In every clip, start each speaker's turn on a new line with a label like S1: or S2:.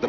S1: The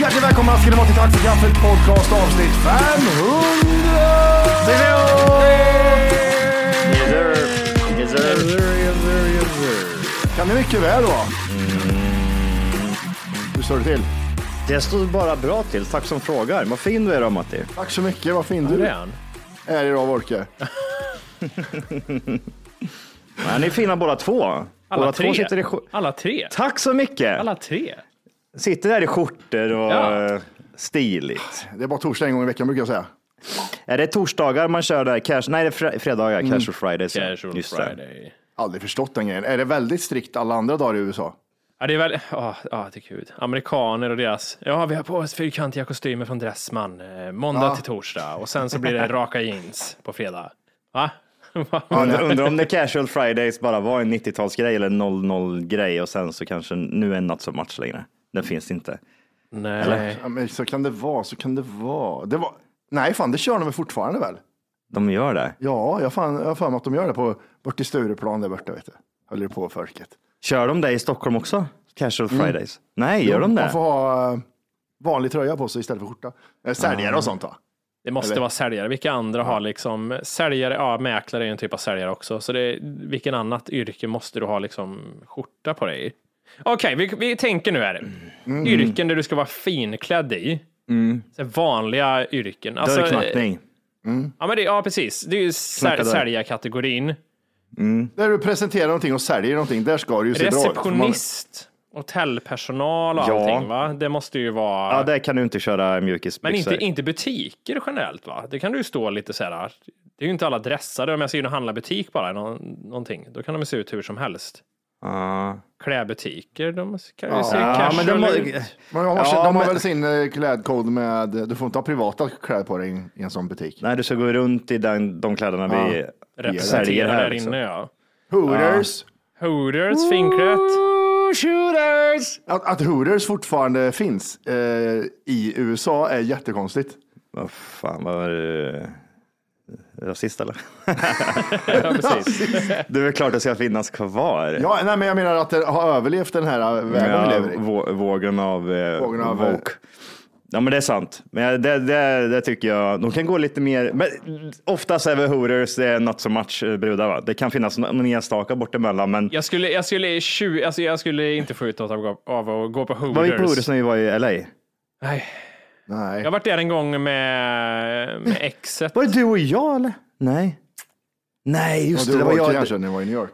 S2: Hjärtligt välkomna ska ni vara till Tack för kaffet podcast avsnitt 500!
S3: Yes, sir. Yes, sir.
S2: Kan ni mycket väl då? Hur står det till?
S3: Mm. Det står bara bra till. Tack som frågar. Vad fin du är då, Matti.
S2: Tack så mycket, vad fin du
S4: han.
S2: är idag Wolke.
S3: Ja, ni är fina båda två. båda
S4: Alla tre.
S3: två sitter i skj-
S4: Alla tre.
S3: Tack så mycket!
S4: Alla tre.
S3: Sitter där i skjortor och
S4: Ja.
S3: eh, stiligt.
S2: Det är bara torsdag en gång i veckan brukar jag säga.
S3: Är det torsdagar man kör där? Cash? Nej, det är fre- fredagar. Casual Fridays. ja.
S4: Mm. Casual
S3: Just det.
S4: Friday.
S2: Aldrig förstått den grejen. Är det väldigt strikt alla andra dagar i USA?
S4: Ja, det är väl, ja, ja, det är kul. Amerikaner och deras, ja, vi har på oss fyrkantiga kostymer från Dressman, eh, måndag
S2: Ja.
S4: till torsdag och sen så blir det raka jeans på fredag. Va?
S3: Undrar, undrar om det Casual Fridays bara var en 90-talsgrej eller en 00-grej och sen så kanske nu är natt som match längre. Den finns inte.
S4: Nej.
S2: Ja, men så kan det vara, så kan det vara. Det var... Nej, fan det kör de väl fortfarande väl?
S3: De gör det.
S2: Ja, jag har fan- jag har för mig att de gör det på, bort till Stureplan där borta. Vet du. Höll det på folket.
S3: Kör de det i Stockholm också? Casual
S4: Mm.
S3: Fridays? Nej, gör de
S2: Man
S3: det?
S2: får ha eh, vanlig tröja på sig istället för skjorta. Eh, Säljare och sånt va?
S4: Det måste
S2: Eller-
S4: vara säljare. Vilka andra har liksom säljare? Ja, mäklare är en typ av säljare också. Så det, vilken annat yrke måste du ha liksom skjorta på dig? i? Okej, vi, vi tänker nu här.
S2: Mm.
S4: Yrken där du ska vara finklädd i. Så här vanliga yrken. Alltså,
S3: Dörrknackning.
S4: ja, men det, ja, precis. Det är ju
S3: Knacka
S4: sälj,
S3: dörr.
S4: säljarkategorin.
S2: Där du presenterar någonting och säljer någonting, där ska du ju se bra ut. för man-
S4: Receptionist, hotellpersonal och
S3: Ja.
S4: allting, va? Det måste ju vara...
S3: Ja, där kan du inte köra mjukisbyxor.
S4: Men inte, inte butiker generellt va? Det kan du ju stå lite så här. Det är ju inte alla dressade. Om jag ska in och handla butik bara, nå- någonting, då kan de ju se ut hur som helst.
S3: Ja.
S4: Klädbutiker, de kan ju
S2: Ja.
S4: se
S3: Ja, men
S4: casual
S3: de
S4: ut.
S3: har...
S2: Men de har,
S3: Ja,
S2: de har
S3: men-
S2: väl sin eh, klädkod med, eh, du får inte ha privata kläder på dig i en- i en sån butik.
S3: Nej, du ska gå runt i den, de kläderna vi säljer
S4: Representerar
S3: här.
S4: där
S3: liksom.
S4: inne ja.
S2: Hooters.
S4: Hooters, finklätt.
S3: Shooters!
S2: Att, att Hooters fortfarande finns eh, i USA är jättekonstigt.
S3: Vad fan, vad var du? Rasist eller?
S4: Ja, precis.
S3: Det är väl klart att det ska finnas kvar.
S2: Ja, nej, men jag menar att det har överlevt den här eh, världen vi lever i.
S3: vå- vågen av, eh,
S2: Vågen av, eh,
S3: woke. Ja, men det är sant. Men jag- det, det, det tycker jag. De kan gå lite mer. Men oftast är väl Hooters det är not so much eh, brudar. Va? Det kan finnas någon enstaka bortemellan, men
S4: Jag skulle, jag, skulle, tju- alltså, jag skulle inte få ut något av, att gå- av att gå på
S3: var vi på Hooters
S4: Hooters.
S3: när vi var i LA?
S4: Nej.
S2: Nej.
S4: Jag har varit där en gång med, med exet.
S3: Var det du och jag eller? Nej. Nej,
S2: Och
S3: just det.
S2: du
S3: Det
S2: var
S3: var jag.
S2: kanske när ni var i New York.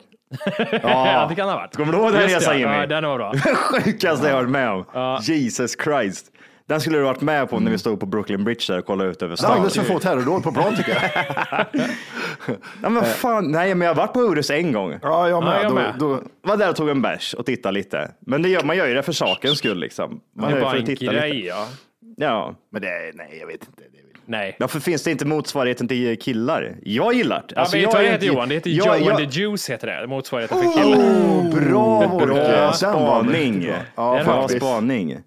S4: Ja, det kan det ha varit.
S3: Kommer du ihåg den
S4: Just det,
S3: resan
S4: Ja,
S3: Jimmy?
S4: den var bra.
S3: Sjukaste jag har varit med om. Jesus Christ. Den skulle du varit med på när
S4: Mm.
S3: vi stod på Brooklyn Bridge där och kollade ut över stan.
S2: Alldeles för få terrordåd på plan tycker jag.
S3: Nej, men fan, nej, men jag har varit på Orust en gång.
S2: Eh. Ja, jag med.
S4: Ja, jag med.
S2: Då, då,
S3: Var där och tog en bärs och tittade lite. Men det gör, man gör ju det för sakens skull liksom. Man
S4: Det
S3: gör
S4: är
S3: ju
S4: bara
S3: för
S4: en
S3: att titta
S4: grej,
S3: lite.
S4: ja.
S3: Ja.
S2: men det, är- nej, jag vet inte. Det är väl-
S4: Nej.
S3: Varför finns det inte motsvarigheten till killar? Jag gillar det.
S4: Ja,
S3: Alltså,
S4: vet
S3: jag
S4: du vad
S3: är
S4: det
S3: inte-
S4: heter Johan? Det heter
S3: jag-
S4: Joe
S3: jag-
S4: and the Juice heter det. Motsvarigheten för killar.
S2: Bra Wolke!
S3: Bra
S2: Den var mycket
S3: spaning.
S2: bra.
S3: Ja,
S2: Ja,
S3: bra
S2: faktiskt.
S3: spaning.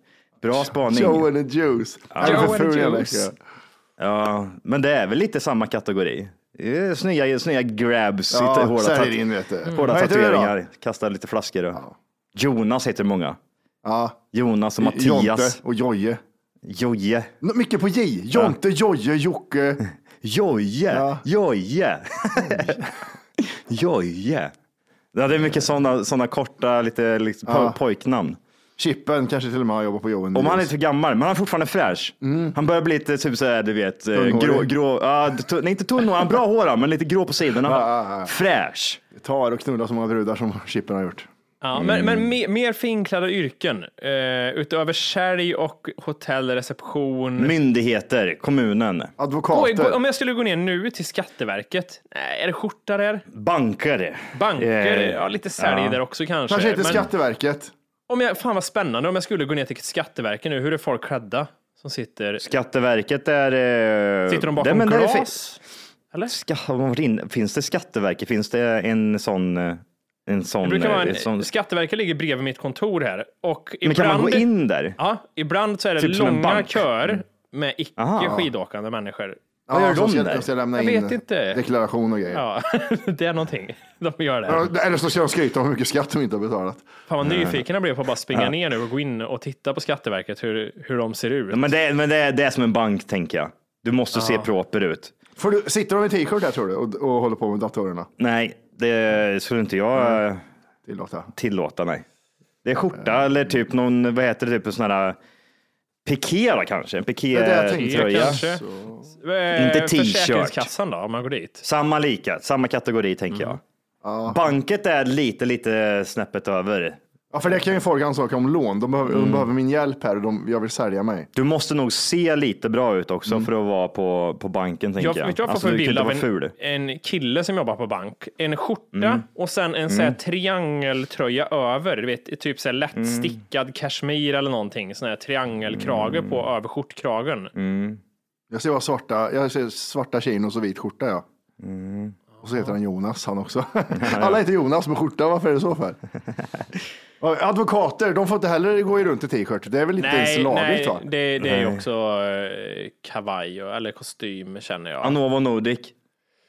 S3: Bra spaning.
S2: Joe and the Juice. Joe
S4: Joe and the Juice.
S3: Ja, men det är väl lite samma kategori. Det är Snygga, snygga grabs, lite
S2: Ja,
S3: hårda,
S2: säljer
S3: tat- Mm.
S2: in vet du.
S3: hårda
S2: Vad heter det då?
S3: tatueringar, kastar lite flaskor. Och... Jonas heter många.
S2: Ja,
S3: Jonas och
S2: Jonte
S3: Mattias.
S2: och Joje.
S3: Joje.
S2: Nå, Mycket på J. Jonte, Joje, Jocke.
S3: Joje.
S2: Ja.
S3: Joje. Joje. Ja, det är mycket sådana såna korta lite, liksom, po- pojknamn.
S2: Chippen kanske till och med har jobbat på Joe and the
S3: Om han är
S2: Juice.
S3: lite för gammal, men han är fortfarande fräsch.
S2: Mm.
S3: Han börjar bli lite typ såhär, du vet, eh,
S2: Tunnhårig.
S3: grå, grå, ja, t- nej inte tunnhårig, han har bra hår han, men lite grå på sidorna.
S2: ja, ja.
S3: Fräsch.
S2: Tar och knullar så många brudar som Chippen har gjort.
S4: Ja, men, men mer, mer finklade yrken. Eh, utöver sälj och hotellreception.
S3: Myndigheter, kommunen,
S4: Oj,
S2: Advokater.
S4: gå- Om jag skulle gå ner nu till Skatteverket, nej, är det skjorta där?
S3: banker.
S4: Banker,
S3: Eh,
S4: ja, lite sälj där också kanske.
S2: Kanske inte
S4: Men
S2: Skatteverket.
S4: om jag, fan vad spännande om jag skulle gå ner till Skatteverket nu, hur är folk klädda? Som sitter,
S3: Skatteverket är... eh,
S4: sitter
S3: det-
S4: de bakom
S3: men det är-
S4: glas? Eller?
S3: Ska, har man varit inne- finns det Skatteverket? Finns det en sån... eh, En sån,
S4: Det brukar vara
S3: eh, sån
S4: en, Skatteverket ligger bredvid mitt kontor här. Och
S3: men kan
S4: ibland,
S3: man gå in där?
S4: Ja, ibland så är det
S3: Typ som en
S4: långa
S3: bank?
S4: köer med icke
S3: Aha.
S4: skidåkande människor.
S3: Vad gör
S2: Ja, så
S3: de
S2: ska,
S3: där?
S2: de ska lämna
S4: Jag
S2: in
S4: vet inte.
S2: deklaration och grejer.
S4: Ja, det är någonting. De gör det.
S2: Ja, Eller så ska de skryta om hur mycket skatt de inte har betalat.
S4: Fan vad nyfiken jag blev på att bara springa ner nu och gå in och titta på Skatteverket, hur, hur de ser ut.
S3: Men, det, men det, är- det är som en bank, tänker jag. Du måste se proper ut.
S2: För du, sitter de i t-shirt här tror du och, och håller på med datorerna?
S3: Nej, det skulle inte jag
S2: Mm.
S3: eh,
S2: Tillåta.
S3: tillåta, nej. Det är skjorta
S2: Mm.
S3: eller typ någon, vad heter det, typ en sån här piké då kanske? En
S2: det
S3: Eh,
S2: jag tänkte.
S3: pikétröja.
S4: kanske.
S2: Så-
S4: Eh,
S3: Inte t-shirt.
S4: Försäkringskassan då, om man går dit.
S3: Samma lika, samma kategori tänker
S4: Mm.
S3: jag. Banket är lite, lite snäppet över.
S2: Ja, för det kan ju folk ansöka om lån. De behöver,
S3: Mm.
S2: de behöver min hjälp här och de, jag vill sälja mig.
S3: Du måste nog se lite bra ut också för att vara på, på banken tänker
S4: Mm. Jag,
S3: jag.
S4: vet du vad jag får
S3: Alltså,
S4: för
S3: du kan
S4: bild
S3: inte
S4: av
S3: vara
S4: en,
S3: ful.
S4: en kille som jobbar på bank? En skjorta och sen en så här triangeltröja över. Du vet, typ så här lättstickad kashmir eller någonting. Sån här triangelkrage på över skjortkragen.
S2: Jag ser bara svarta, jag ser svarta chinos och vit skjorta ja. Och så heter han Jonas han också. Alla heter Jonas med skjorta, varför är det så för? Ja, Advokater, de får inte heller gå runt i t-shirt. Det är väl inte ens lagligt va?
S4: nej det, det är ju också eh, kavaj och- eller kostym känner jag.
S3: Anovo Nordic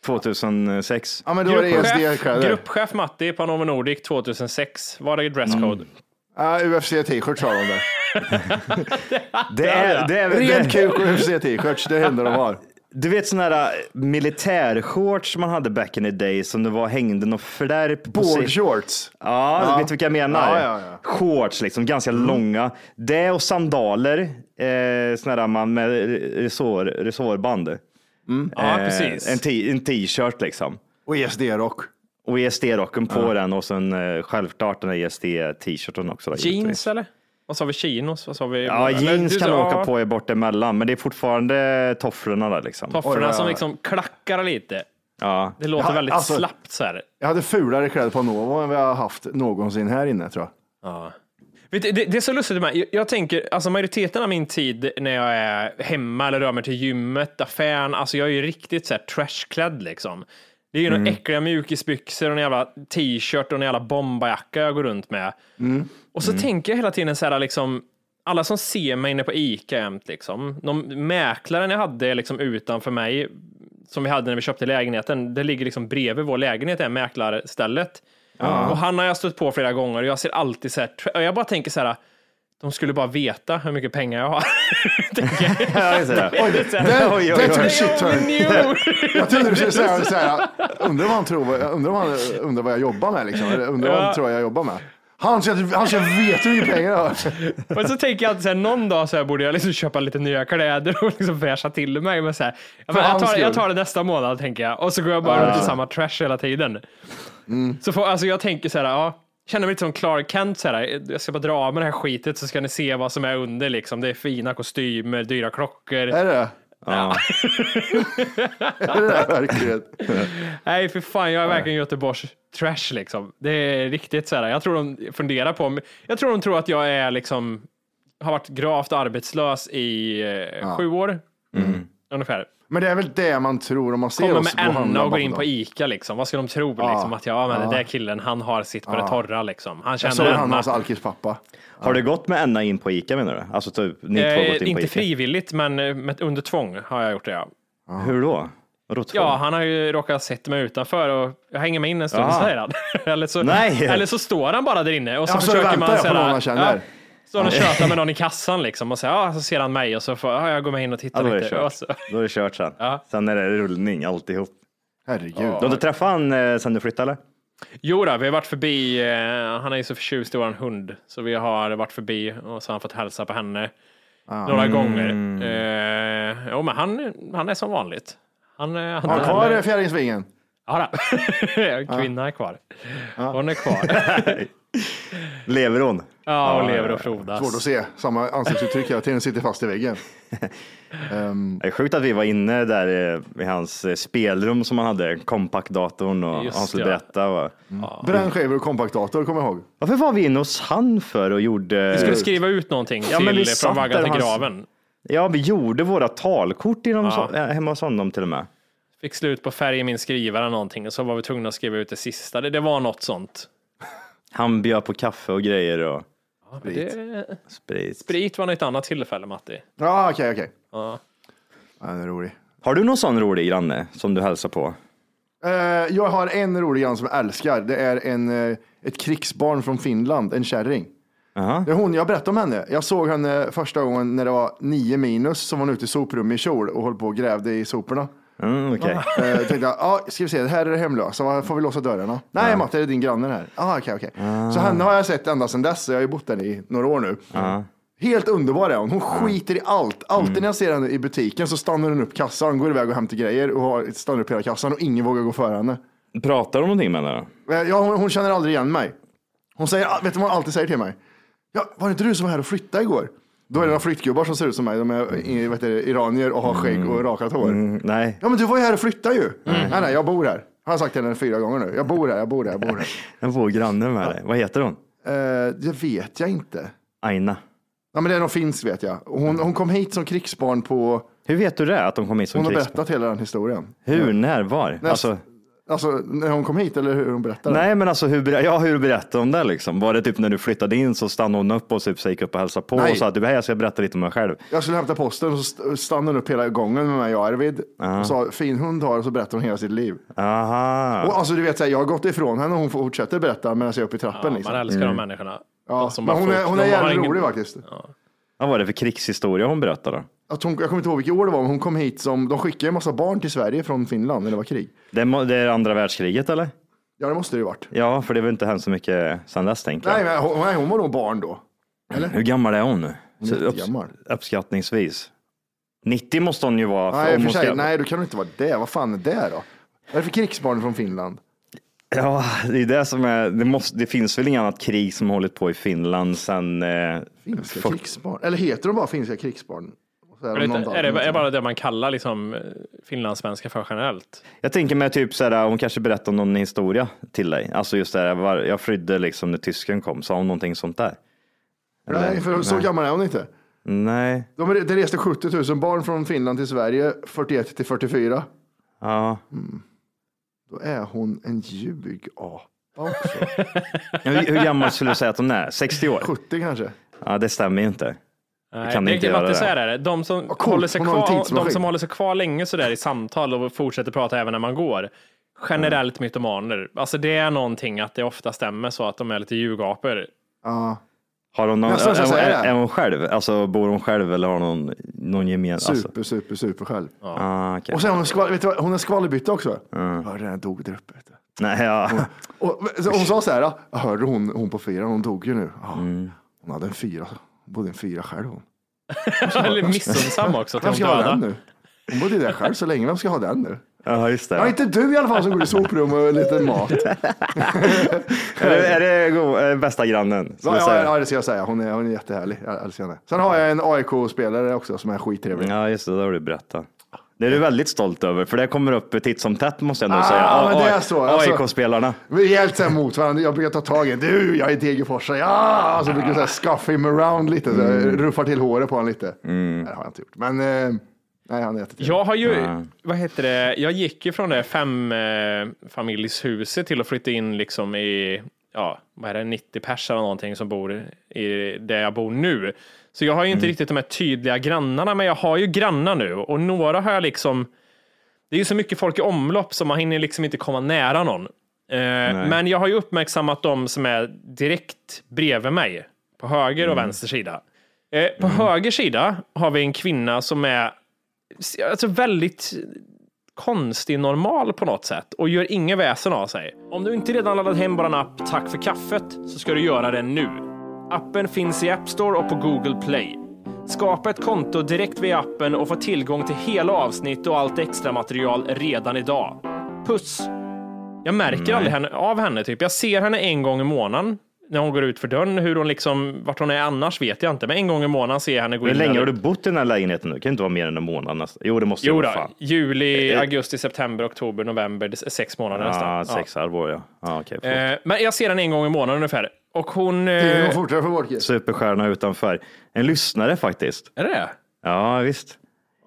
S3: 2006.
S2: Ja, men då är det E
S4: Gruppchef,
S2: ESD-kläder.
S4: gruppchef Matti på Novo Nordic 2006. Var det dresscode?
S3: Mm.
S2: Ja, UFC t-shirt sa de där.
S3: Det är, det är, det
S2: Ren
S3: är,
S2: kuk och UFC t-shirts, det är det enda de har.
S3: du vet sådana här äh, militärshorts som man hade back in the day som det var hängde någon flärp på
S2: Board
S3: sig.
S2: shorts.
S3: Ja, vet du vilka jag menar?
S2: Ja, ja, ja.
S3: Shorts liksom, ganska
S4: Mm.
S3: långa. Det och sandaler, eh, sådana där man med resår, resårband.
S4: Ja,
S3: Eh,
S4: precis.
S3: En t- en t-shirt liksom.
S2: Och E ESD-rock.
S3: Och ESD-rocken på den och sen eh, självklart den där ESD-t-shirten också. då, givetvis.
S4: Jeans eller? Vad sa vi? Chinos? Vad sa vi?
S3: Ja,
S4: Eller,
S3: jeans
S4: du
S3: kan man
S4: sa-
S3: åka
S4: ja,
S3: på er bort emellan, men det är fortfarande tofflorna där liksom.
S4: Tofflorna
S2: Oj, vad-
S4: som liksom klackar lite.
S3: ja.
S4: Det låter
S2: Ja,
S4: väldigt
S2: alltså-
S4: slappt så här.
S2: Jag hade fulare kläder på Novo än vad jag har haft någonsin här inne tror jag.
S4: Ja. Vet du, det, det är så lustigt med jag, jag tänker, alltså majoriteten av min tid när jag är hemma eller rör mig till gymmet, affären, alltså jag är ju riktigt så här trashklädd liksom. Det är ju några äckliga mjukisbyxor och en jävla t-shirt och en jävla bombajacka jag går runt med. Och så tänker jag hela tiden så här liksom, alla som ser mig inne på Ica jämt liksom, de mäklaren jag hade liksom utanför mig, som vi hade när vi köpte lägenheten, det ligger liksom bredvid vår lägenhet, det här mäklarstället. Och han har jag stött på flera gånger och jag ser alltid så här, och jag bara tänker så här, de skulle bara veta hur mycket pengar jag har. Tänker jag.
S3: Ja, just det.
S2: Oj,
S3: oj,
S2: där
S3: oj, oj.
S2: tog shit-turn.
S4: They only knew.
S2: Jag trodde du skulle säga så här, undrar vad han tror, undrar vad, han, undrar vad jag jobbar med liksom, eller undrar vad han
S4: Ja.
S2: tror jag jobbar med. Han ska, han ska veta hur mycket pengar jag har.
S4: Och så tänker jag alltid så här, någon dag så här borde jag liksom köpa lite nya kläder och liksom fräscha till mig. Men så här, ja, men jag,
S2: hans
S4: tar, jag
S2: skull.
S4: tar det nästa
S2: Mm.
S4: månad tänker jag. Och så går jag bara runt i samma trash hela tiden. Så får, alltså jag tänker så här, ja, Känner mig lite som Clark Kent så här. Jag ska bara dra av med det här skitet så ska ni se vad som är under liksom. Det är fina kostymer, dyra klockor.
S2: Är det ja. Är det där verkligen?
S4: Nej, för fan, jag är verkligen Göteborgs trash liksom. Det är riktigt så här. Jag tror de funderar på mig. Jag tror de tror att jag är liksom, har varit gravt arbetslös i eh, sju år. Ungefär.
S2: Men det är väl det man tror om man ser
S4: Kommer
S2: oss gå och
S4: med
S2: handla
S4: Enna och går
S2: bakom
S4: in på
S2: dem.
S4: Ica liksom. Vad ska de tro liksom? Att ja, men den där killen, han har sitt på det torra liksom. Han
S2: Så
S4: känner
S2: är han alltså
S4: Enna.
S2: hans alkis pappa.
S3: Har du gått med Enna in på Ica menar du? Alltså typ ni två har gått
S4: Eh,
S3: in på
S4: inte
S3: Ica?
S4: frivilligt, men eh, med, under tvång har jag gjort det. Ja.
S3: Hur då? Vadå två?
S4: Ja, han har ju råkat sett mig utanför och jag hänger med in en stund,
S3: Aha.
S4: säger han. eller, så,
S3: Nej.
S4: eller så står han bara där inne och så
S2: Ja, så
S4: försöker
S2: väntar
S4: man
S2: jag på
S4: så här,
S2: någon man känner.
S4: Ja, står han och tjötar med någon i kassan liksom och säger, ja, så ser han mig och så får ja, jag gå med in och titta
S3: Ja, då är det
S4: lite. Och
S3: kört.
S4: så,
S3: Då är det kört sen.
S4: alltså. Ja.
S3: Sen är det rullning alltihop.
S2: Herregud.
S3: Du har inte träffat han eh, sen du flyttade eller?
S4: jo då, vi har varit förbi, eh, han är ju så förtjust i våran hund, så vi har varit förbi och så har han fått hälsa på henne några gånger. Eh, jo, men han, han är som vanligt. Han, eh, han,
S2: Han har eh, fjärilsvingen.
S4: Ja, då. Kvinna är kvar. Hon är kvar.
S3: Lever hon?
S4: Ja, och lever och frodas.
S2: Svårt att se samma ansiktsuttryck hela tiden, sitter fast i väggen.
S3: Det är sjukt att vi var inne där eh, i hans eh, spelrum som han hade, kompakdatorn och
S4: Just
S3: han skulle
S4: det.
S3: berätta. Va?
S2: Brännskivor och kompaktdator, kommer jag ihåg.
S3: Varför var vi inne hos han för och gjorde?
S2: Eh,
S4: Vi skulle skriva ut någonting
S3: Ja, men vi
S4: till Från
S3: satt där
S4: vaggan till
S3: och han-
S4: graven.
S3: Ja, vi gjorde våra talkort i de så, eh, hemma hos honom till och med.
S4: Fick slut på färg i min skrivare eller någonting och så var vi tvungna att skriva ut det sista. Det, det var något sånt.
S3: Han bjöd på kaffe och grejer och
S4: Det,
S3: sprit.
S4: sprit var något annat tillfälle, Matti.
S2: Ja, okej, okej.
S4: Ja.
S2: Ja, den är rolig.
S3: Har du någon sån rolig granne som du hälsar på?
S2: Eh, jag har en rolig grann som jag älskar. Det är en, eh, ett krigsbarn från Finland, en kärring. Det är hon, jag berättade om henne. Jag såg henne första gången när det var nio minus som var ute i soprummet i kjol och höll på och grävde i soporna.
S3: Mm, okej.
S2: Eh, tänkte jag, ja, ska vi se, det här är det hemlösa, vad- får vi låsa dörrarna? Nej Matte, det är din granne här. Ah, okay, okay. Så henne har jag sett ända sedan dess, så jag har ju bott där i några år nu. Helt underbar är hon, hon skiter i allt. Alltid när jag ser henne i butiken så stannar hon upp kassan, går iväg och hämtar grejer och har- stannar upp hela kassan och ingen vågar gå före henne.
S3: Pratar du någonting med henne?
S2: Eh, Ja, hon, hon känner aldrig igen mig. Hon säger, ah, vet du vad hon alltid säger till mig? Ja, var det inte du som var här och flyttade igår? Då är det några flyttgubbar som ser ut som mig. De är i- vet du, iranier och har skägg och rakat hår.
S3: Mm, nej.
S2: Ja, men du var ju här och flyttade ju. Nej, nej, jag bor här. Har jag sagt till henne fyra gånger nu. Jag bor här, jag bor här, jag bor här.
S3: Jag bor granne med dig. Vad heter hon?
S2: Eh, det vet jag inte.
S3: Aina.
S2: Ja, men det är någon finsk vet jag. Hon, hon kom hit som krigsbarn på,
S3: Hur vet du det? Att de kom in som
S2: hon har
S3: krigsbarn?
S2: berättat hela den historien.
S3: Hur? När? Var?
S2: När-
S3: Alltså,
S2: Alltså när hon kom hit eller hur hon berättade.
S3: nej, men alltså hur, ber- ja, hur berättade hon det liksom? Var det typ när du flyttade in så stannade hon upp och typ så gick upp och hälsade på
S2: Nej.
S3: och sa att du, "Hej, jag ska berätta lite om mig själv.
S2: Jag skulle hämta posten och så st- stannade hon upp hela gången med mig och Arvid. Och sa fin hund har och så berättade hon hela sitt liv.
S3: Aha.
S2: Och alltså du vet, så här, jag har gått ifrån henne och hon fortsätter berätta medan jag är uppe i
S4: Ja,
S2: trappen. liksom.
S4: man älskar de människorna.
S2: ja.
S4: De
S2: Men
S4: bara
S2: hon är,
S4: folk-
S2: hon är
S4: de har
S2: jävligt
S4: ingen-
S2: rolig faktiskt.
S3: Vad var det för krigshistoria hon berättade?
S2: Att hon, jag kommer inte ihåg vilket år det var, men hon kom hit som, de skickade en massa barn till Sverige från Finland när det var krig.
S3: Det, må- det är andra världskriget eller?
S2: Ja, det måste det ju varit.
S3: Ja, för det har väl inte hänt så mycket sedan dess tänker jag.
S2: Nej, men hon, nej, hon var nog barn då.
S3: Hur gammal är hon nu?
S2: Hon är jättegammal.
S3: uppskattningsvis. 90 måste hon ju vara. för
S2: Nej,
S3: om
S2: för
S3: hon
S2: sig,
S3: ska-
S2: nej, då kan det inte vara det. Vad fan är det då? Vad är det för krigsbarn från Finland?
S3: Ja, det är det som är. Det, måste, det finns väl inget annat krig som har hållit på i Finland sedan. Eh,
S2: Finska
S3: fuck-
S2: krigsbarn? Eller heter de bara finska krigsbarn? Och så är de
S4: Är
S2: någon
S4: det,
S2: dag-
S4: är det är bara det man kallar liksom eh, finlandssvenska för generellt?
S3: Jag tänker mig typ så här, hon kanske berättar någon historia till dig. Alltså just det här, var, jag flydde liksom när tysken kom. Sa hon någonting sånt där?
S2: Nej, för så gammal är hon inte.
S3: Nej.
S2: De, det reste 70 000 barn från Finland till Sverige 41 till 44.
S3: Ja.
S2: Då är hon en ljugapa också.
S3: Hur, hur gammal skulle du säga att hon är? 60 år?
S2: 70 kanske.
S3: Ja, det stämmer ju inte.
S4: Nej,
S3: kan inte
S4: är
S3: göra
S4: Matti,
S3: det.
S4: Så här är det. De, som
S2: coolt.
S4: håller sig
S2: Hon har en
S4: kvar,
S2: tidsmaskin.
S4: de som håller sig kvar länge så där i samtal och fortsätter prata även när man går.
S2: Mm.
S4: Generellt mytomaner. Alltså det är någonting att det ofta stämmer så att de är lite ljugapor.
S2: Ja,
S3: Har hon någon,
S2: Nästan så
S3: är,
S2: säger
S3: är,
S2: det.
S3: är hon själv? Alltså bor hon själv eller har hon någon gemensam? Alltså,
S2: super, super, super själv.
S3: ah, okej.
S2: Och sen har hon, skval, vet du, vad? hon är skvallerbytta också. Mm. Hörde den dog där uppe. Vet du.
S3: Nej, ja.
S2: Och, så hon sa så här, "Ja, jag hörde hon, hon på fyran, hon dog ju nu. Ja, Hon hade en fyra, hon bodde i en fyra själv hon.
S4: Eller missunnsam också till
S2: Vem
S4: de
S2: ska ha den nu?
S4: döda.
S2: Hon bodde ju där själv så länge, vem ska ha den nu?
S3: Ja, just det.
S2: Ja, inte du i alla fall som går i soprum och lite mat.
S3: Är det, är det go- är det bästa grannen? ska
S2: Ja,
S3: jag
S2: ja,
S3: säga?
S2: ja, det ska jag säga. Hon är, hon är jättehärlig. Jag älskar henne. Sen har jag en AIK-spelare också som är skittrevlig.
S3: Ja, just det. Det har du berättat. Det är du väldigt stolt över, för det kommer upp titt som tätt måste jag nog
S2: Ah,
S3: säga.
S2: men det är
S3: A-
S2: så, alltså.
S3: AIK-spelarna.
S2: Vi är helt så här mot varandra. Jag brukar ta tag i en. Du, jag är Degerforsare. Ja! Så brukar jag så här scuff him around lite. Så här,
S4: Mm.
S2: Ruffar till håret på honom lite. Nej, det har jag inte gjort. Men eh, nej, han är jättetrevlig.
S4: Jag har ju, vad heter det, jag gick ju från det fem eh, familjshuset till att flytta in liksom i, ja, vad är det, 90 pers eller någonting som bor i där jag bor nu. Så jag har ju inte riktigt de här tydliga grannarna, men jag har ju grannar nu och några har jag liksom, det är ju så mycket folk i omlopp så man hinner liksom inte komma nära någon. Eh, men jag har ju uppmärksammat de som är direkt bredvid mig, på höger och vänster sida. Eh, på höger sida har vi en kvinna som är alltså väldigt konstig normal på något sätt och gör inget väsen av sig. Om du inte redan laddat hem våran app Tack för kaffet så ska du göra det nu. Appen finns i App Store och på Google Play. Skapa ett konto direkt via appen och få tillgång till hela avsnitt och allt extra material redan idag. Puss! Jag märker aldrig henne, av henne, typ. Jag ser henne en gång i månaden när hon går ut för dörren. Hur hon liksom, vart hon är annars vet jag inte, men en gång i månaden ser jag henne gå
S3: Hur
S4: in.
S3: länge
S4: där.
S3: har du bott i den här lägenheten nu? Det kan ju inte vara mer än en månad nästan. Jo, det måste ju
S4: Jo
S3: vara.
S4: då,
S3: Fan. Eh,
S4: juli, augusti, september, oktober, november, det är sex månader
S3: Ja,
S4: nästan.
S3: Ah, sex halvår ja. ja okej,
S4: Ja.
S3: förlåt.
S4: Eh, Men jag ser den en gång i månaden ungefär. Och hon... eh,
S2: Det går fortare för vår kille.
S3: Superstjärna utanför. En lyssnare faktiskt.
S4: Är det det?
S3: Ja, visst.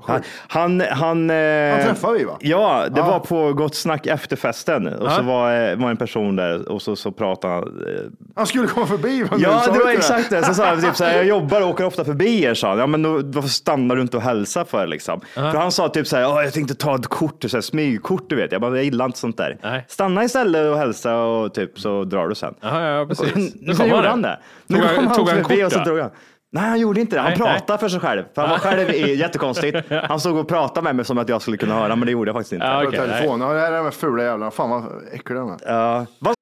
S3: Han, han, han, eh,
S2: Han träffade vi, va?
S3: Ja, det var på Gott Snack efterfesten och så var, eh, var en person där och så, så pratade han. eh,
S2: Han skulle komma förbi. men
S3: Ja,
S2: sa
S3: det
S2: inte
S3: var exakt det. Så sa han typ så här, jag jobbar och åker ofta förbi er, sa han. Ja, men då, varför stannar du inte och hälsar för liksom? För han sa typ så här, "Ja, jag tänkte ta ett kort, så här, smygkort, du vet. Jag bara, jag gillar inte sånt där.
S4: Nej.
S3: Stanna istället och hälsa och typ så drar du sen.
S4: Ja, ja, ja, precis.
S3: Alltså, Nu
S4: Då kom
S3: gjorde han det. Nu
S4: Tog
S3: kom
S4: han-
S3: han
S4: tog han
S3: förbi
S4: kort,
S3: och så
S4: då?
S3: drog han. Nej, han gjorde inte det. Han
S4: Nej,
S3: pratade för sig själv. För han var själv i, jättekonstigt. Han stod och pratade med mig som att jag skulle kunna höra, men det gjorde jag faktiskt inte.
S4: Ja,
S2: På
S4: okej, nej.
S2: telefon. Ja, det här är de här fula jävlarna. Fan vad äckliga de är.
S3: Ja. Vad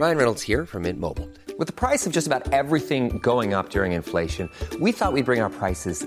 S5: Ryan Reynolds here from Mint Mobile. With the price of just about everything going up during inflation, we thought we'd bring our prices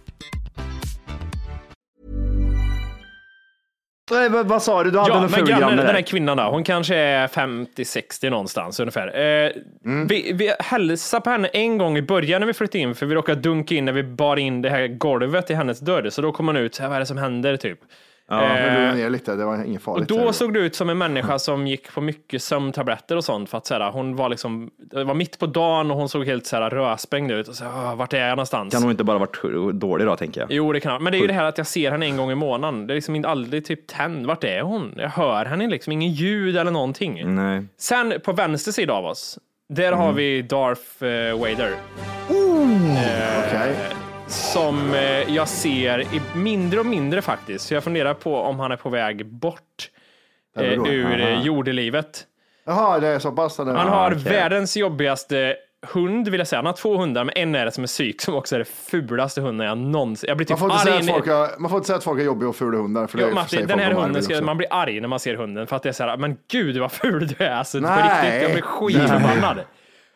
S3: nej, vad- vad sa du? Du hade
S4: Ja,
S3: någon
S4: men
S3: ful granne
S4: grannen, den här
S3: där.
S4: kvinnan då, hon kanske är 50-60 någonstans ungefär. Eh,
S3: Mm.
S4: vi, vi hälsade på henne en gång i början när vi flyttade in, för vi råkade dunka in när vi bar in det här golvet i hennes dörr, så då kom hon ut, så här, vad är det som händer typ?
S2: Ja, men lugna ner lite. Det var inget
S4: Och
S2: farligt.
S4: då såg det ut som en människa som gick på mycket sömntabletter och sånt för att så här, hon var liksom, det var mitt på dagen och hon såg helt så här rödsprängd ut och så här, "Åh, vart är jag någonstans?
S3: Kan hon inte bara varit dålig då, tänker jag.
S4: Jo, det kan Men det är ju det här att jag ser henne en gång i månaden. Det är liksom inte aldrig typ tänd. Vart är hon? Jag hör henne liksom, ingen ljud eller någonting.
S3: Nej.
S4: Sen på vänster sida av oss, där har vi Darth eh, Vader.
S2: Okej.
S4: Som eh, jag ser i mindre och mindre faktiskt. Så jag funderar på om han är på väg bort eh,
S2: Eller då?
S4: ur eh, jordelivet.
S2: Jaha, det är så pass. Han
S4: Han har världens jobbigaste hund vill jag säga. Han har två hundar, men en är det som är psyk som också är det fulaste hunden jag någonsin... Jag blir
S2: Man
S4: typ
S2: får, inte säga
S4: arg.
S2: att
S4: när-
S2: folk har, man får inte säga att folk är jobbiga och fula hundar. För det
S4: Jo,
S2: säger
S4: Martin,
S2: folk
S4: den här
S2: om Arvid
S4: hunden, ska,
S2: också.
S4: man blir arg när man ser hunden för att det är så här, men gud vad ful du är alltså. På
S2: Nej.
S4: riktigt, jag blir skitförbannad.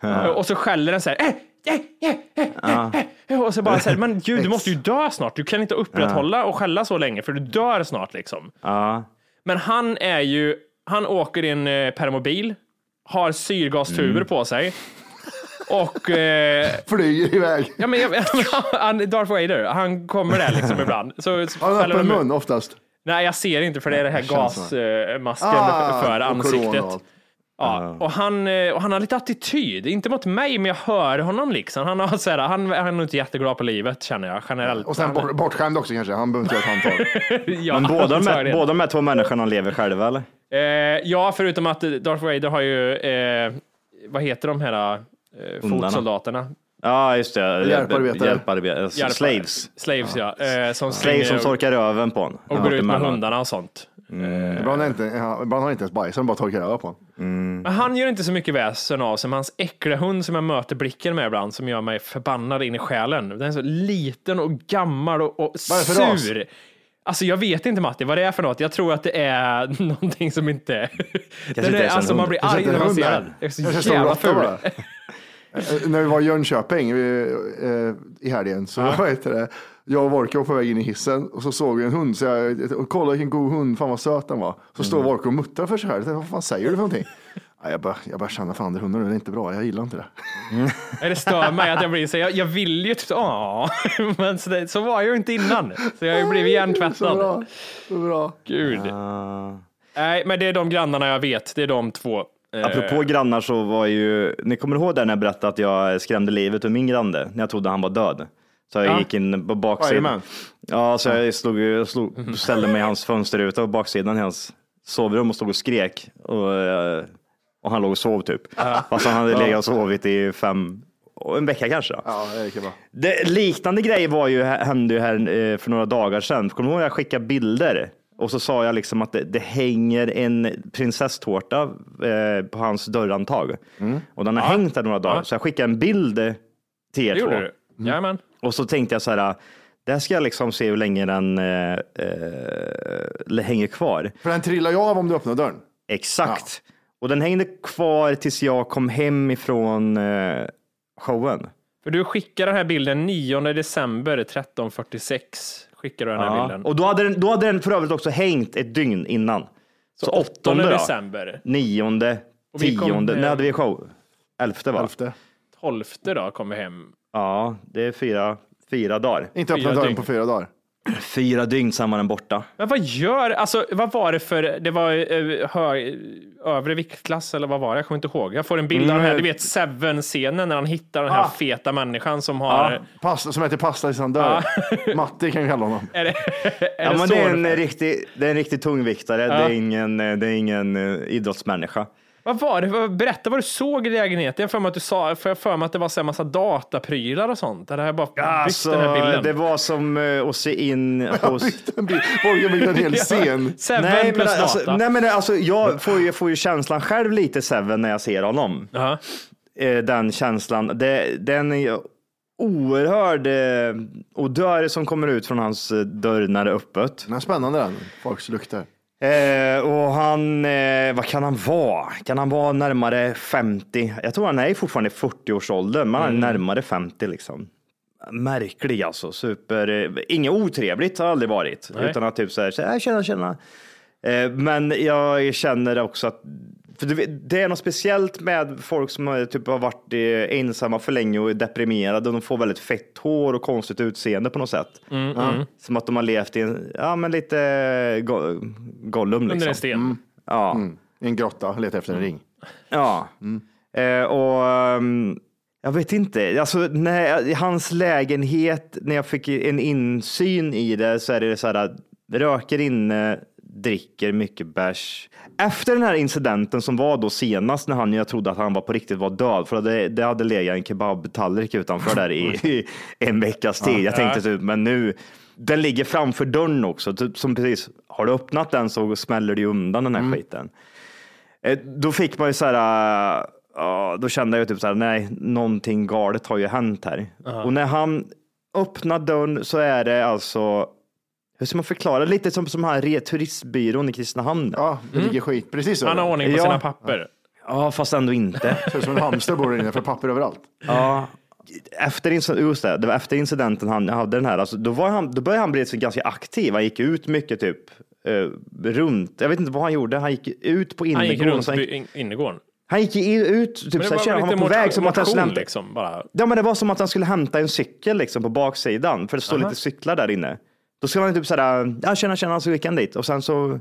S4: Eh, Och så skäller den så här, eh, eh, eh, eh, eh, eh. och så bara så här, men gud du måste ju dö snart. Du kan inte upprätthålla och skälla så länge för du dör snart liksom.
S3: Ja.
S4: Men han är ju, han åker i en eh, permobil, har syrgastuber
S2: Mm.
S4: på sig. Och eh,
S2: Flyger iväg.
S4: ja, men, jag- han, Darth Vader, han kommer där liksom ibland. Så, så
S2: Har han
S4: fäller
S2: öppen
S4: de ut.
S2: mun oftast?
S4: Nej, jag ser inte för det är den här
S2: känns så.
S4: gasmasken
S2: Ah,
S4: för
S2: och corona och
S4: ansiktet.
S2: allt.
S4: Ja, och han, eh, och han har lite attityd, inte mot mig, men jag hör honom liksom. Han, har, så här, han, han är nog inte jätteglad på livet känner jag generellt.
S2: Och sen
S4: Han-
S2: bort, bortskämd också kanske. Han behöver inte göra ett handtag.
S4: ja,
S3: Men båda de, här,
S4: antagligen.
S3: båda de här två människorna lever själva eller?
S4: Eh, ja, förutom att eh, Darth Vader har ju, eh, vad heter de här eh,
S3: Hundarna.
S4: fotsoldaterna?
S3: Ja, just det.
S2: Hjälparbetare.
S3: Hjälparbetare.
S4: Hjälpar-
S3: Slaves.
S4: Slaves, ja. Eh, som
S3: Slaves som
S4: springer
S3: torkar röven på en.
S4: och, och går ut med hundarna och sånt.
S2: Ibland, är inte, ja, ibland har han inte ens bajs, han bara torkar över på honom.
S4: Men han gör inte så mycket väsen av sig, men hans äckliga hund som jag möter blicken med ibland, som gör mig förbannad in i själen. Den är så liten och gammal och, och
S2: Vad är det för ras?
S4: sur. Alltså jag vet inte Matti vad det är för något. Jag tror att det är någonting som inte... Den
S3: inte
S4: är,
S3: ens en
S4: alltså man
S3: hund.
S4: blir
S2: Kanske
S4: arg
S2: inte
S4: när
S2: en
S4: man
S2: hund där.
S4: ser den. Den
S2: Kanske
S4: är
S2: en
S4: så
S2: stor
S4: jävla
S2: råtta
S4: ful.
S2: bara. Eh, När vi var i Jönköping vi, eh, i helgen så vad heter det, jag och Volker var på väg in i hissen och så såg vi en hund. Så jag, och kolla vilken god hund, fan vad söt den var. Så
S4: Mm.
S2: står Volker och muttrar för sig själv. Jag tänkte, Vad fan säger du för någonting? Ja, Jag börjar, jag börjar känna, fan det hunden är inte bra, jag gillar inte det.
S4: Nej, Det stör mig att jag blir så. Jag, jag vill ju typ ja, men så, det, så var jag ju inte innan. Så jag har ju blivit
S2: Så
S4: hjärntvättad.
S2: bra, så bra.
S4: Gud.
S3: Ah.
S4: Nej, men det är de grannarna jag vet. Det är de två. Eh,
S3: Apropå grannar så var ju, ni kommer ihåg där när jag berättade att jag skrämde livet ur min granne när jag trodde han var död. Så jag
S4: Ja.
S3: gick in på
S2: Spiderman.
S3: baksidan. Ja, så jag slog, jag slog, ställde mig i hans fönsterruta på baksidan i hans sovrum och stod och skrek. Och, eh, och han låg och sov typ. Fast han hade legat och sovit i fem, en vecka kanske. då.
S2: Ja, det gick bra.
S3: Det, liknande grej var ju, hände ju här eh, för några dagar sedan. Kommer du ihåg jag skickade bilder? Och så sa jag liksom att det, det hänger en prinsesstårta eh, på hans dörrhandtag. Och den har hängt där några dagar.
S4: Ja.
S3: Så jag skickade en bild till er
S4: Det gjorde
S3: två.
S4: du?
S2: Mm.
S4: Jajamän.
S3: Och så tänkte jag så här, det här ska jag liksom se hur länge den eh, eh, hänger kvar.
S2: För den trillar ju av om du öppnar dörren.
S3: Exakt. Och den hängde kvar tills jag kom hem ifrån eh, showen.
S4: För du skickade den här bilden 9 december 13.46. Skickade du den här
S3: Ja.
S4: bilden.
S3: Och då hade, den, då hade den för övrigt också hängt ett dygn innan. Så,
S4: 8
S3: åttonde då?
S4: december.
S3: Nionde,
S4: Och vi kom
S3: tionde,
S4: hem-
S3: när hade vi show? Elfte va?
S2: Elfte.
S4: 12 då kom vi hem.
S3: Ja, det är fyra, fyra dagar.
S2: Inte öppna
S4: Fyra
S2: dörren
S4: dygn.
S2: på fyra dagar.
S3: Fyra dygn sen var den borta.
S4: Men vad gör, alltså vad var det för, det var eh, hö, övre viktklass eller vad var det? Jag kommer inte ihåg. Jag får en bild av den här,
S3: Mm.
S4: du vet Seven-scenen när han hittar den här
S2: Ah.
S4: feta människan som har...
S3: Ah.
S2: Pasta, som äter pasta tills han dör. Matti kan vi kalla honom.
S4: Är det, är
S3: Ja,
S4: det
S3: men
S4: så
S3: det, är en
S4: ungefär?
S3: riktig, det är en riktig tungviktare. Det, är ingen, eh, det är ingen eh, idrottsmänniska.
S4: Vad var det? Vad- Berätta vad du såg i lägenheten. Jag har för mig att du sa, för jag har för mig att det var så här massa dataprylar och sånt. Det här bara byggt den här bilden.
S3: alltså, det var som eh, att se in hos...
S2: Borgen byggde en hel scen.
S4: Seven
S3: Nej men,
S4: plus data.
S3: alltså, nej, men alltså, jag får ju, jag får ju känslan själv lite Seven när jag ser honom.
S4: Ja.
S3: eh, den känslan. Det, den är ju oerhörd eh, odör som kommer ut från hans eh, dörr när det är öppet.
S2: Den är spännande den, folks lukter.
S3: Eh, och han, eh, vad kan han vara? Kan han vara närmare 50? Jag tror han är fortfarande i 40-årsåldern, men han är närmare 50 liksom. Märklig alltså, super. Eh, inget otrevligt har det aldrig varit,
S4: Nej.
S3: utan att typ så här, så här tjena, tjena. Eh, men jag känner också att för du vet, det är något speciellt med folk som har, typ, har varit eh, ensamma för länge och är deprimerade. De får väldigt fett hår och konstigt utseende på något sätt.
S4: Mm,
S3: ja. Som att de har levt i en, ja, men lite go Gollum.
S4: Under
S3: Liksom.
S4: en sten.
S3: Ja.
S2: I en grotta, letar efter en ring.
S3: Ja. Eh, och ehm, jag vet inte, alltså när, i hans lägenhet, när jag fick en insyn i det så är det så här, att röker inne, dricker mycket bärs. Efter den här incidenten som var då senast när han, jag trodde att han var på riktigt var död, för det, det hade legat en kebabtallrik utanför där i, i en veckas tid. Jag tänkte typ, men nu, den ligger framför dörren också, typ, som precis, har du öppnat den så smäller det ju undan den här skiten. Eh, Då fick man ju så här, äh, ja, då kände jag ju typ så här, nej, någonting galet har ju hänt här. Och när han öppnar dörren så är det alltså, hur ska man förklara, lite som, som här re- turistbyrån i Kristinehamn. Ja.
S2: Ja, det ligger skit precis
S4: Mm. Han har
S2: över.
S4: ordning på
S3: Ja.
S4: sina papper.
S3: fast ändå inte.
S2: Ser ut som en hamster bor där inne, för papper överallt.
S3: ja. Efter, inc- just det, det var efter incidenten han hade den här, alltså, då, var han, då började han bli så ganska aktiv. Han gick ut mycket typ eh, runt. Jag vet inte vad han gjorde. Han gick ut på
S4: Han gick
S3: innergården.
S4: runt
S3: så Han,
S4: by- in- innergården.
S3: han gick i- ut, typ,
S4: Men
S3: så
S4: det
S3: här,
S4: var
S3: tjena,
S4: väl
S3: han var
S4: lite
S3: på väg som att han
S4: motion,
S3: skulle hämta-
S4: liksom. Bara.
S3: Ja, men det var som att han skulle hämta en cykel liksom, på baksidan, för det står lite cyklar där inne. Då skulle han typ sådär, ja tjena tjena, så gick han dit och sen så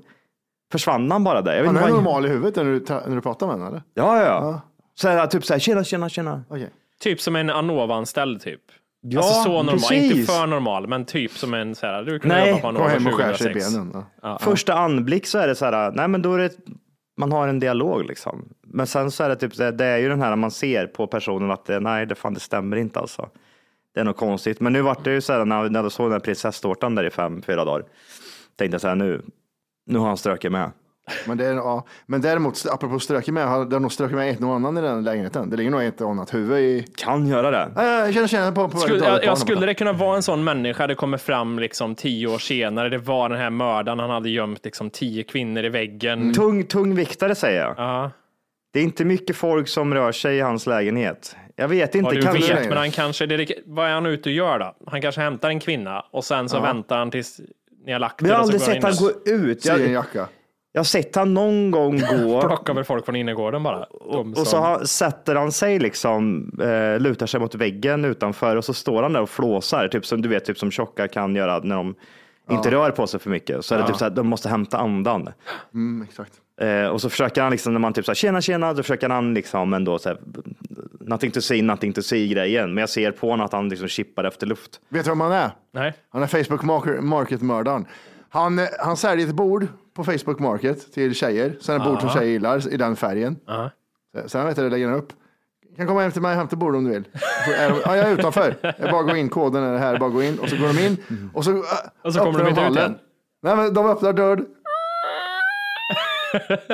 S3: försvann han bara där. Jag vet
S2: Han
S3: inte
S2: är
S3: vad
S2: normal i huvudet när du, tra- när du pratar med honom eller?
S3: Ja, ja. ja. Så här, typ så här, tjena, tjena, tjena.
S2: Okej.
S4: Typ som en Anova-anställd typ.
S3: Ja,
S4: alltså så normal,
S3: precis.
S4: inte för normal, men typ som en så här, du kan
S3: Nej,
S4: jobba på Anova
S2: Kom hem och skär
S4: 2006.
S2: sig i benen. Ja.
S3: Första anblick så är det så här, nej men då är det, man har en dialog liksom. Men sen så är det typ, så här, det är ju den här man ser på personen att det, nej, det fan det stämmer inte alltså. Det är nog konstigt. Men nu vart det ju så här när när jag såg den här prinsesstårtan där i fem, fyra dagar. Tänkte jag så här nu, nu har han ströket med.
S2: Men, det är, ja. men däremot, apropå strökig med, har- det har nog strökig med ett någon annan i den lägenheten. Det ligger nog ett annat huvud i...
S3: Kan göra det.
S2: Nej, Jag känner, känner på, på
S4: Eh, Skulle, jag, jag skulle
S2: det...
S4: det kunna vara en sån människa det kommer fram liksom tio år senare, det var den här mördaren, han hade gömt liksom tio kvinnor i väggen.
S3: Tung, tung viktare säger jag.
S4: Ja.
S3: Det är inte mycket folk som rör sig i hans lägenhet. Jag vet
S4: Ja,
S3: inte.
S4: du
S3: kanske-
S4: vet, men han kanske, det, är- vad är han ute och gör då? Han kanske hämtar en kvinna och sen så väntar han tills ni har lagt
S3: Men jag har
S4: och så
S3: aldrig sett
S4: går
S3: han
S4: Alltså, in
S3: gå
S4: och
S3: ut.
S2: Syr en
S3: Jag,
S2: jacka.
S3: jag har sett han någon gång gå
S4: Plockar väl folk från innergården bara. De
S3: och så
S4: som-
S3: har, sätter han sig liksom, eh, lutar sig mot väggen utanför och så står han där och flåsar, typ som du vet, typ som tjocka kan göra när de inte rör på sig för mycket. Så är det typ så här, de måste hämta andan.
S2: Mm, exakt.
S3: Eh, och så försöker han liksom, när man typ så här, tjena, tjena, då försöker han liksom ändå så här, nothing to see, nothing to see grejen. Men jag ser på honom att han liksom chippar efter luft.
S2: Vet du vem han är?
S4: Nej.
S2: Han är Facebook marker- Market-mördaren. Han, eh, han säljer ett bord på Facebook Market till tjejer. Sen ett bord som tjejer gillar i den färgen.
S4: Ja.
S2: Sen- Sen vet jag det lägger han upp. Kan komma hem till mig och hämta bord om du vill. Så är de, ja, jag är utanför. Jag bara gå in, koden är här, bara gå in. Och så går de in. Och så, äh,
S4: Och så kommer
S2: öppnar
S4: de inte ut
S2: hallen.
S4: igen.
S2: Nej, men de öppnar dörren.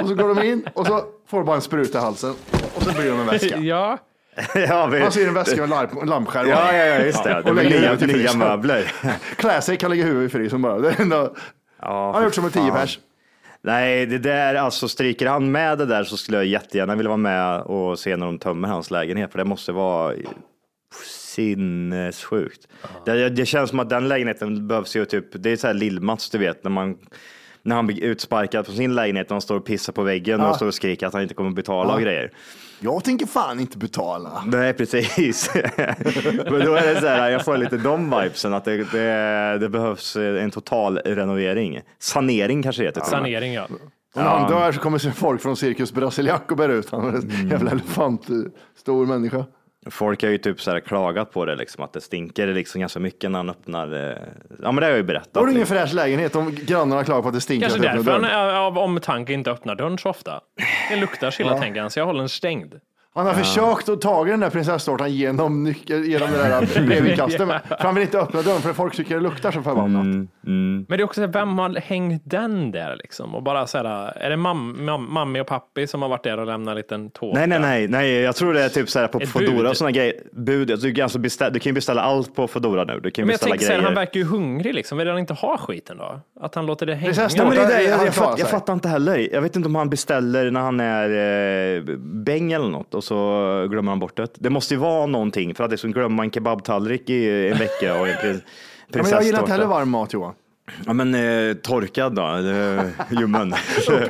S2: Och så går de in och så får de bara en spruta i halsen. Och så blir de en väska.
S4: Ja.
S3: ja, vi,
S2: Han ser en väska med larm, lampskärm.
S3: ja, ja, ja, just det. det var
S2: lägger
S3: nya,
S2: huvudet i
S3: nya
S2: frysen.
S3: möbler.
S2: Klä sig kan lägga huvudet i frysen bara. Det är ändå, han har gjort som en tio pers.
S3: Nej, det där, alltså stryker han med det där så skulle jag jättegärna vilja vara med och se när de tömmer hans lägenhet, för det måste vara sinnessjukt. Det, det känns som att den lägenheten behövs ju typ, det är så här lill-Mats, du vet, när man när han blir utsparkad från sin lägenhet och han står och pissar på väggen och står och skriker att han inte kommer betala och grejer.
S2: Jag tänker fan inte betala.
S3: Nej, precis. Men då är det så här, jag får lite de vibesen att det, det, det behövs en total renovering. Sanering kanske det heter. till och med.
S4: Sanering ja.
S2: Och när han dör så kommer se folk från Cirkus Brasiliac och bär ut honom.
S4: Mm.
S2: En jävla elefant, eh, stor människa.
S3: Folk har ju typ så här klagat på det, liksom, att det stinker liksom ganska mycket när han öppnar. eh, Ja, men det har jag ju berättat.
S2: Då har du ingen fräsch lägenhet om grannarna klagar på att det stinker.
S4: Kanske
S2: att det öppnar
S4: därför han
S2: dörren.
S4: är- av omtanke inte öppnar dörren så ofta. Det luktar så illa tänker han, så jag håller den stängd.
S2: Han har försökt att ta den där prinsesstårtan genom, nyckel, genom det där brevinkastet. men- För han vill inte öppna dörren för folk tycker det luktar så förbannat.
S4: Mm, Men det är också så här, vem har hängt den där liksom? Och bara så här, är det mam, mam, mammi och pappi som har varit där och lämnat en liten tårta?
S3: Nej, nej, nej, nej, jag tror det är typ så här på
S4: Ett
S3: Foodora
S4: bud.
S3: och sådana grejer. Bud, alltså, du, kan alltså beställa, du kan ju beställa allt på Foodora nu. Du kan ju
S4: Men jag
S3: beställa
S4: tänker så här,
S3: grejer.
S4: han verkar ju hungrig liksom. Vill han inte ha skiten då? Att han låter det hänga?
S2: Prinsesstårta.
S3: Ja, men det är det,
S2: Han
S3: jag, jag,
S2: klarar
S3: fatt,
S2: sig.
S3: jag fattar inte heller. Jag vet inte om han beställer när han är eh, bäng eller något och så glömmer han bort det. Det måste ju vara någonting för att det är som att glömma en kebabtallrik i en vecka och en prins,
S2: Ja, men jag gillar inte heller
S3: prinsesstårta.
S2: varm mat Johan.
S3: Ja, men eh, torkad då, eh, ljummen.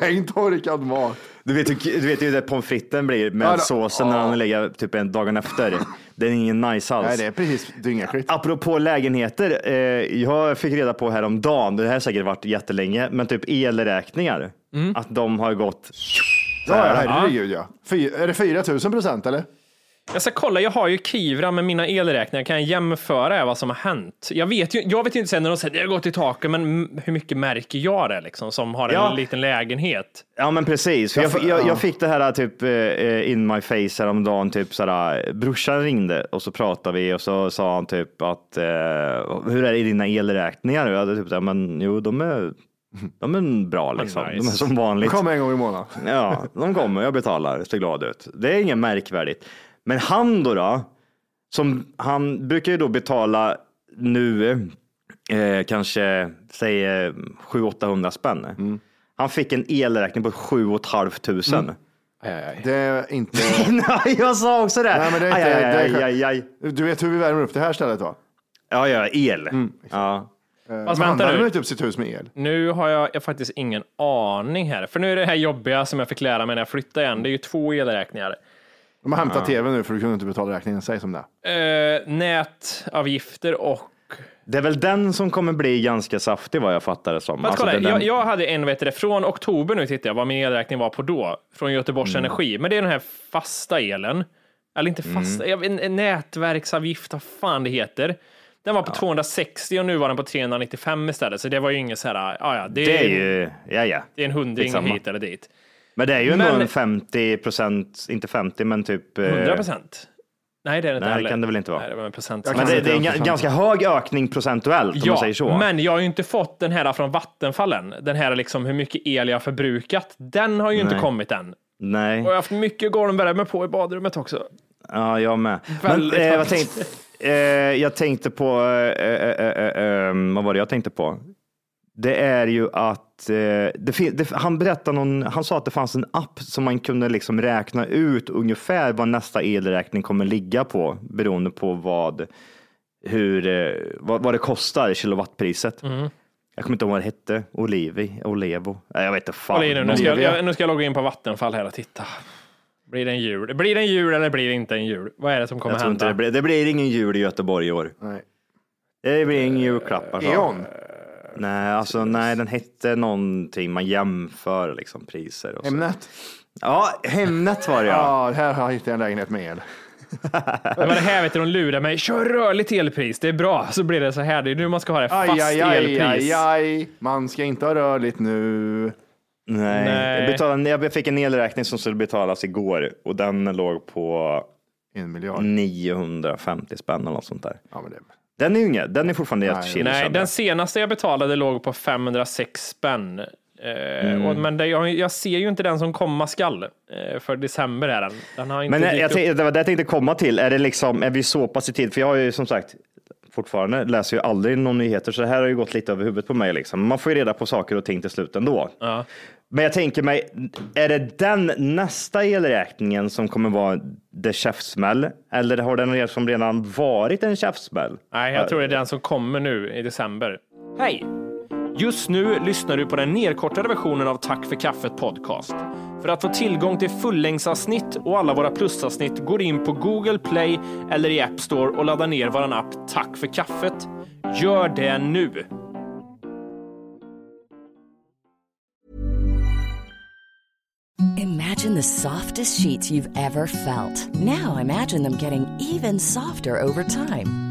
S2: Pengtorkad mat.
S3: Du vet, ju- du vet ju där pommes fritesen blir med
S2: Ja, då-
S3: såsen när han lägger typ en dagen efter. Det är ingen nice alls.
S2: Nej, det är precis dyngäckligt.
S3: Apropå lägenheter, eh, jag fick reda på häromdagen, det här har säkert varit jättelänge, men typ elräkningar.
S2: Mm.
S3: Att de har gått,
S2: Ja, herregud ja. Fy, är det 4 000 procent eller?
S4: Jag ska kolla, jag har ju Kivra med mina elräkningar. Kan jag jämföra vad som har hänt? Jag vet ju, jag vet ju inte sen när de säger det har gått i taket, men m- hur mycket märker jag det liksom? Som har en
S3: Ja.
S4: liten lägenhet.
S3: ja men precis. För jag,
S2: Ja, för-
S3: jag,
S2: ja.
S3: jag fick det här typ eh, in my face häromdagen, typ såhär, brorsan ringde och så pratade vi och så sa han typ att, eh, hur är det i dina elräkningar? Och jag hade typ såhär, men jo de är, de är bra liksom. De är
S4: nice.
S3: som vanligt.
S2: Kom en gång i månaden.
S3: Ja, de kommer, jag betalar, ser glad ut. Det är inget märkvärdigt. Men han då, då som, han brukar ju då betala nu eh, kanske, säg eh, 700-800 spänn.
S2: Mm.
S3: Han fick en elräkning på 7 500.
S2: Det är inte...
S3: Nej, jag sa också det.
S2: Nej, men det är inte-
S3: aj, aj,
S2: det är-
S3: aj, aj, aj.
S2: Du vet hur vi värmer upp det här stället va?
S3: Ja, ja, el.
S2: Mm.
S3: ja.
S4: Fast
S2: Han
S4: vänta
S2: värmer
S4: nu,
S2: inte upp typ sitt hus med el.
S4: nu har jag, jag faktiskt ingen aning här. För nu är det här jobbiga som jag fick lära mig när jag flyttade igen. Det är ju två elräkningar.
S2: De har hämtat tv nu för du kunde inte betala räkningen, säg som det är.
S4: Eh, nätavgifter och
S3: Det är väl den som kommer bli ganska saftig vad jag fattar det som.
S4: Men
S3: Alltså,
S4: kolla,
S3: den-
S4: jag, jag hade en, vet du, det, från oktober nu tittar jag vad min elräkning var på då, från Göteborgs
S3: Mm.
S4: Energi. Men det är den här fasta elen. Eller inte fasta, jag vet, en nätverksavgift, vad fan det heter. Den var på 260 och nu var den på 395 istället, så det var ju inget så här, ah, ja ja, det,
S3: Det är
S4: är
S3: ju, ja ja.
S4: det är en hundring
S3: Skitsamma.
S4: hit eller dit.
S3: Men det är ju ändå
S4: Men-
S3: en 50 procent, inte 50 men typ. eh,
S4: 100 procent? Nej, det är det inte
S3: Nej, det
S4: heller.
S3: kan det väl inte vara.
S4: Nej, det var en procent.
S3: Men det, det är en
S2: inte
S3: ga- ganska hög ökning procentuellt om man säger så.
S4: men jag har ju inte fått den här från Vattenfallen. Den här liksom hur mycket el jag har förbrukat. Den har ju inte
S3: Nej.
S4: kommit än.
S3: Nej.
S4: Och jag har haft mycket golvvärme på i badrummet också.
S3: Ja, jag med. Men,
S4: Väldigt
S3: eh, jag,
S4: högt.
S3: tänkte, eh, jag tänkte på, eh, eh, eh, eh, vad var det jag tänkte på? Det är ju att, eh, det fin- det, han berättade någon, han sa att det fanns en app som man kunde liksom räkna ut ungefär vad nästa elräkning kommer ligga på beroende på vad, hur, eh, vad, vad det kostar, kilowattpriset.
S4: Mm.
S3: Jag kommer inte ihåg vad det hette, Olivi, Olevo, Nej, jag vet inte fan.
S4: Håll i nu, nu, ska jag,
S3: Olivia.
S4: jag, nu ska jag logga in på Vattenfall här och titta. Blir det en jul? Blir det en jul eller blir det inte en jul? Vad är det som kommer
S3: jag tror inte
S4: hända?
S3: det, blir, det blir ingen jul i Göteborg i år.
S2: Nej.
S3: Det blir ingen alltså. julklappar. så.
S2: Eon.
S3: Nej, alltså nej, den hette någonting. Man jämför liksom priser och så.
S2: Hemnet.
S3: Ja, Hemnet var det ja.
S2: Ja, här har jag hittat en lägenhet med el.
S4: Men vad det här vet du, de lurar mig. Kör rörligt elpris, det är bra. Så blir det så här. Det är nu man ska ha det. Fast
S2: Aj, aj, aj,
S4: elpris.
S2: aj, aj. Man ska inte ha rörligt nu.
S3: Nej,
S4: Nej.
S3: Jag, betalade, jag fick en elräkning som skulle betalas igår och den låg på
S2: En miljard.
S4: Mm.
S3: 950 spänn eller något sånt där.
S2: Ja, men det.
S3: Den är ju ingen, den är fortfarande jättechill.
S4: Nej,
S3: kände jag.
S4: den senaste jag betalade låg på 506 spänn. Eh,
S3: Mm.
S4: och, men det, jag, jag ser ju inte den som komma skall. Eh, för december är den. Den har inte
S3: Men jag,
S4: dykt
S3: jag,
S4: upp.
S3: tänkte- det var det jag tänkte komma till. Är, det liksom, är vi så pass i tid? För jag har ju som sagt fortfarande läser ju aldrig några nyheter, så det här har ju gått lite över huvudet på mig. Liksom. Man får ju reda på saker och ting till slut ändå.
S4: Ja.
S3: Men jag tänker mig, är det den nästa elräkningen som kommer vara det käftsmäll? Eller har den redan- som redan varit en käftsmäll?
S4: Nej, jag tror det är den som kommer nu i december. Hej! Just nu lyssnar du på den nedkortade versionen av Tack för kaffet podcast. För att få tillgång till fullängdsavsnitt och alla våra plusavsnitt går in på Google Play eller i App Store och laddar ner vår app Tack för kaffet. Gör det nu!
S6: Imagine the softest sheets you've ever felt. Now imagine them getting even softer over time.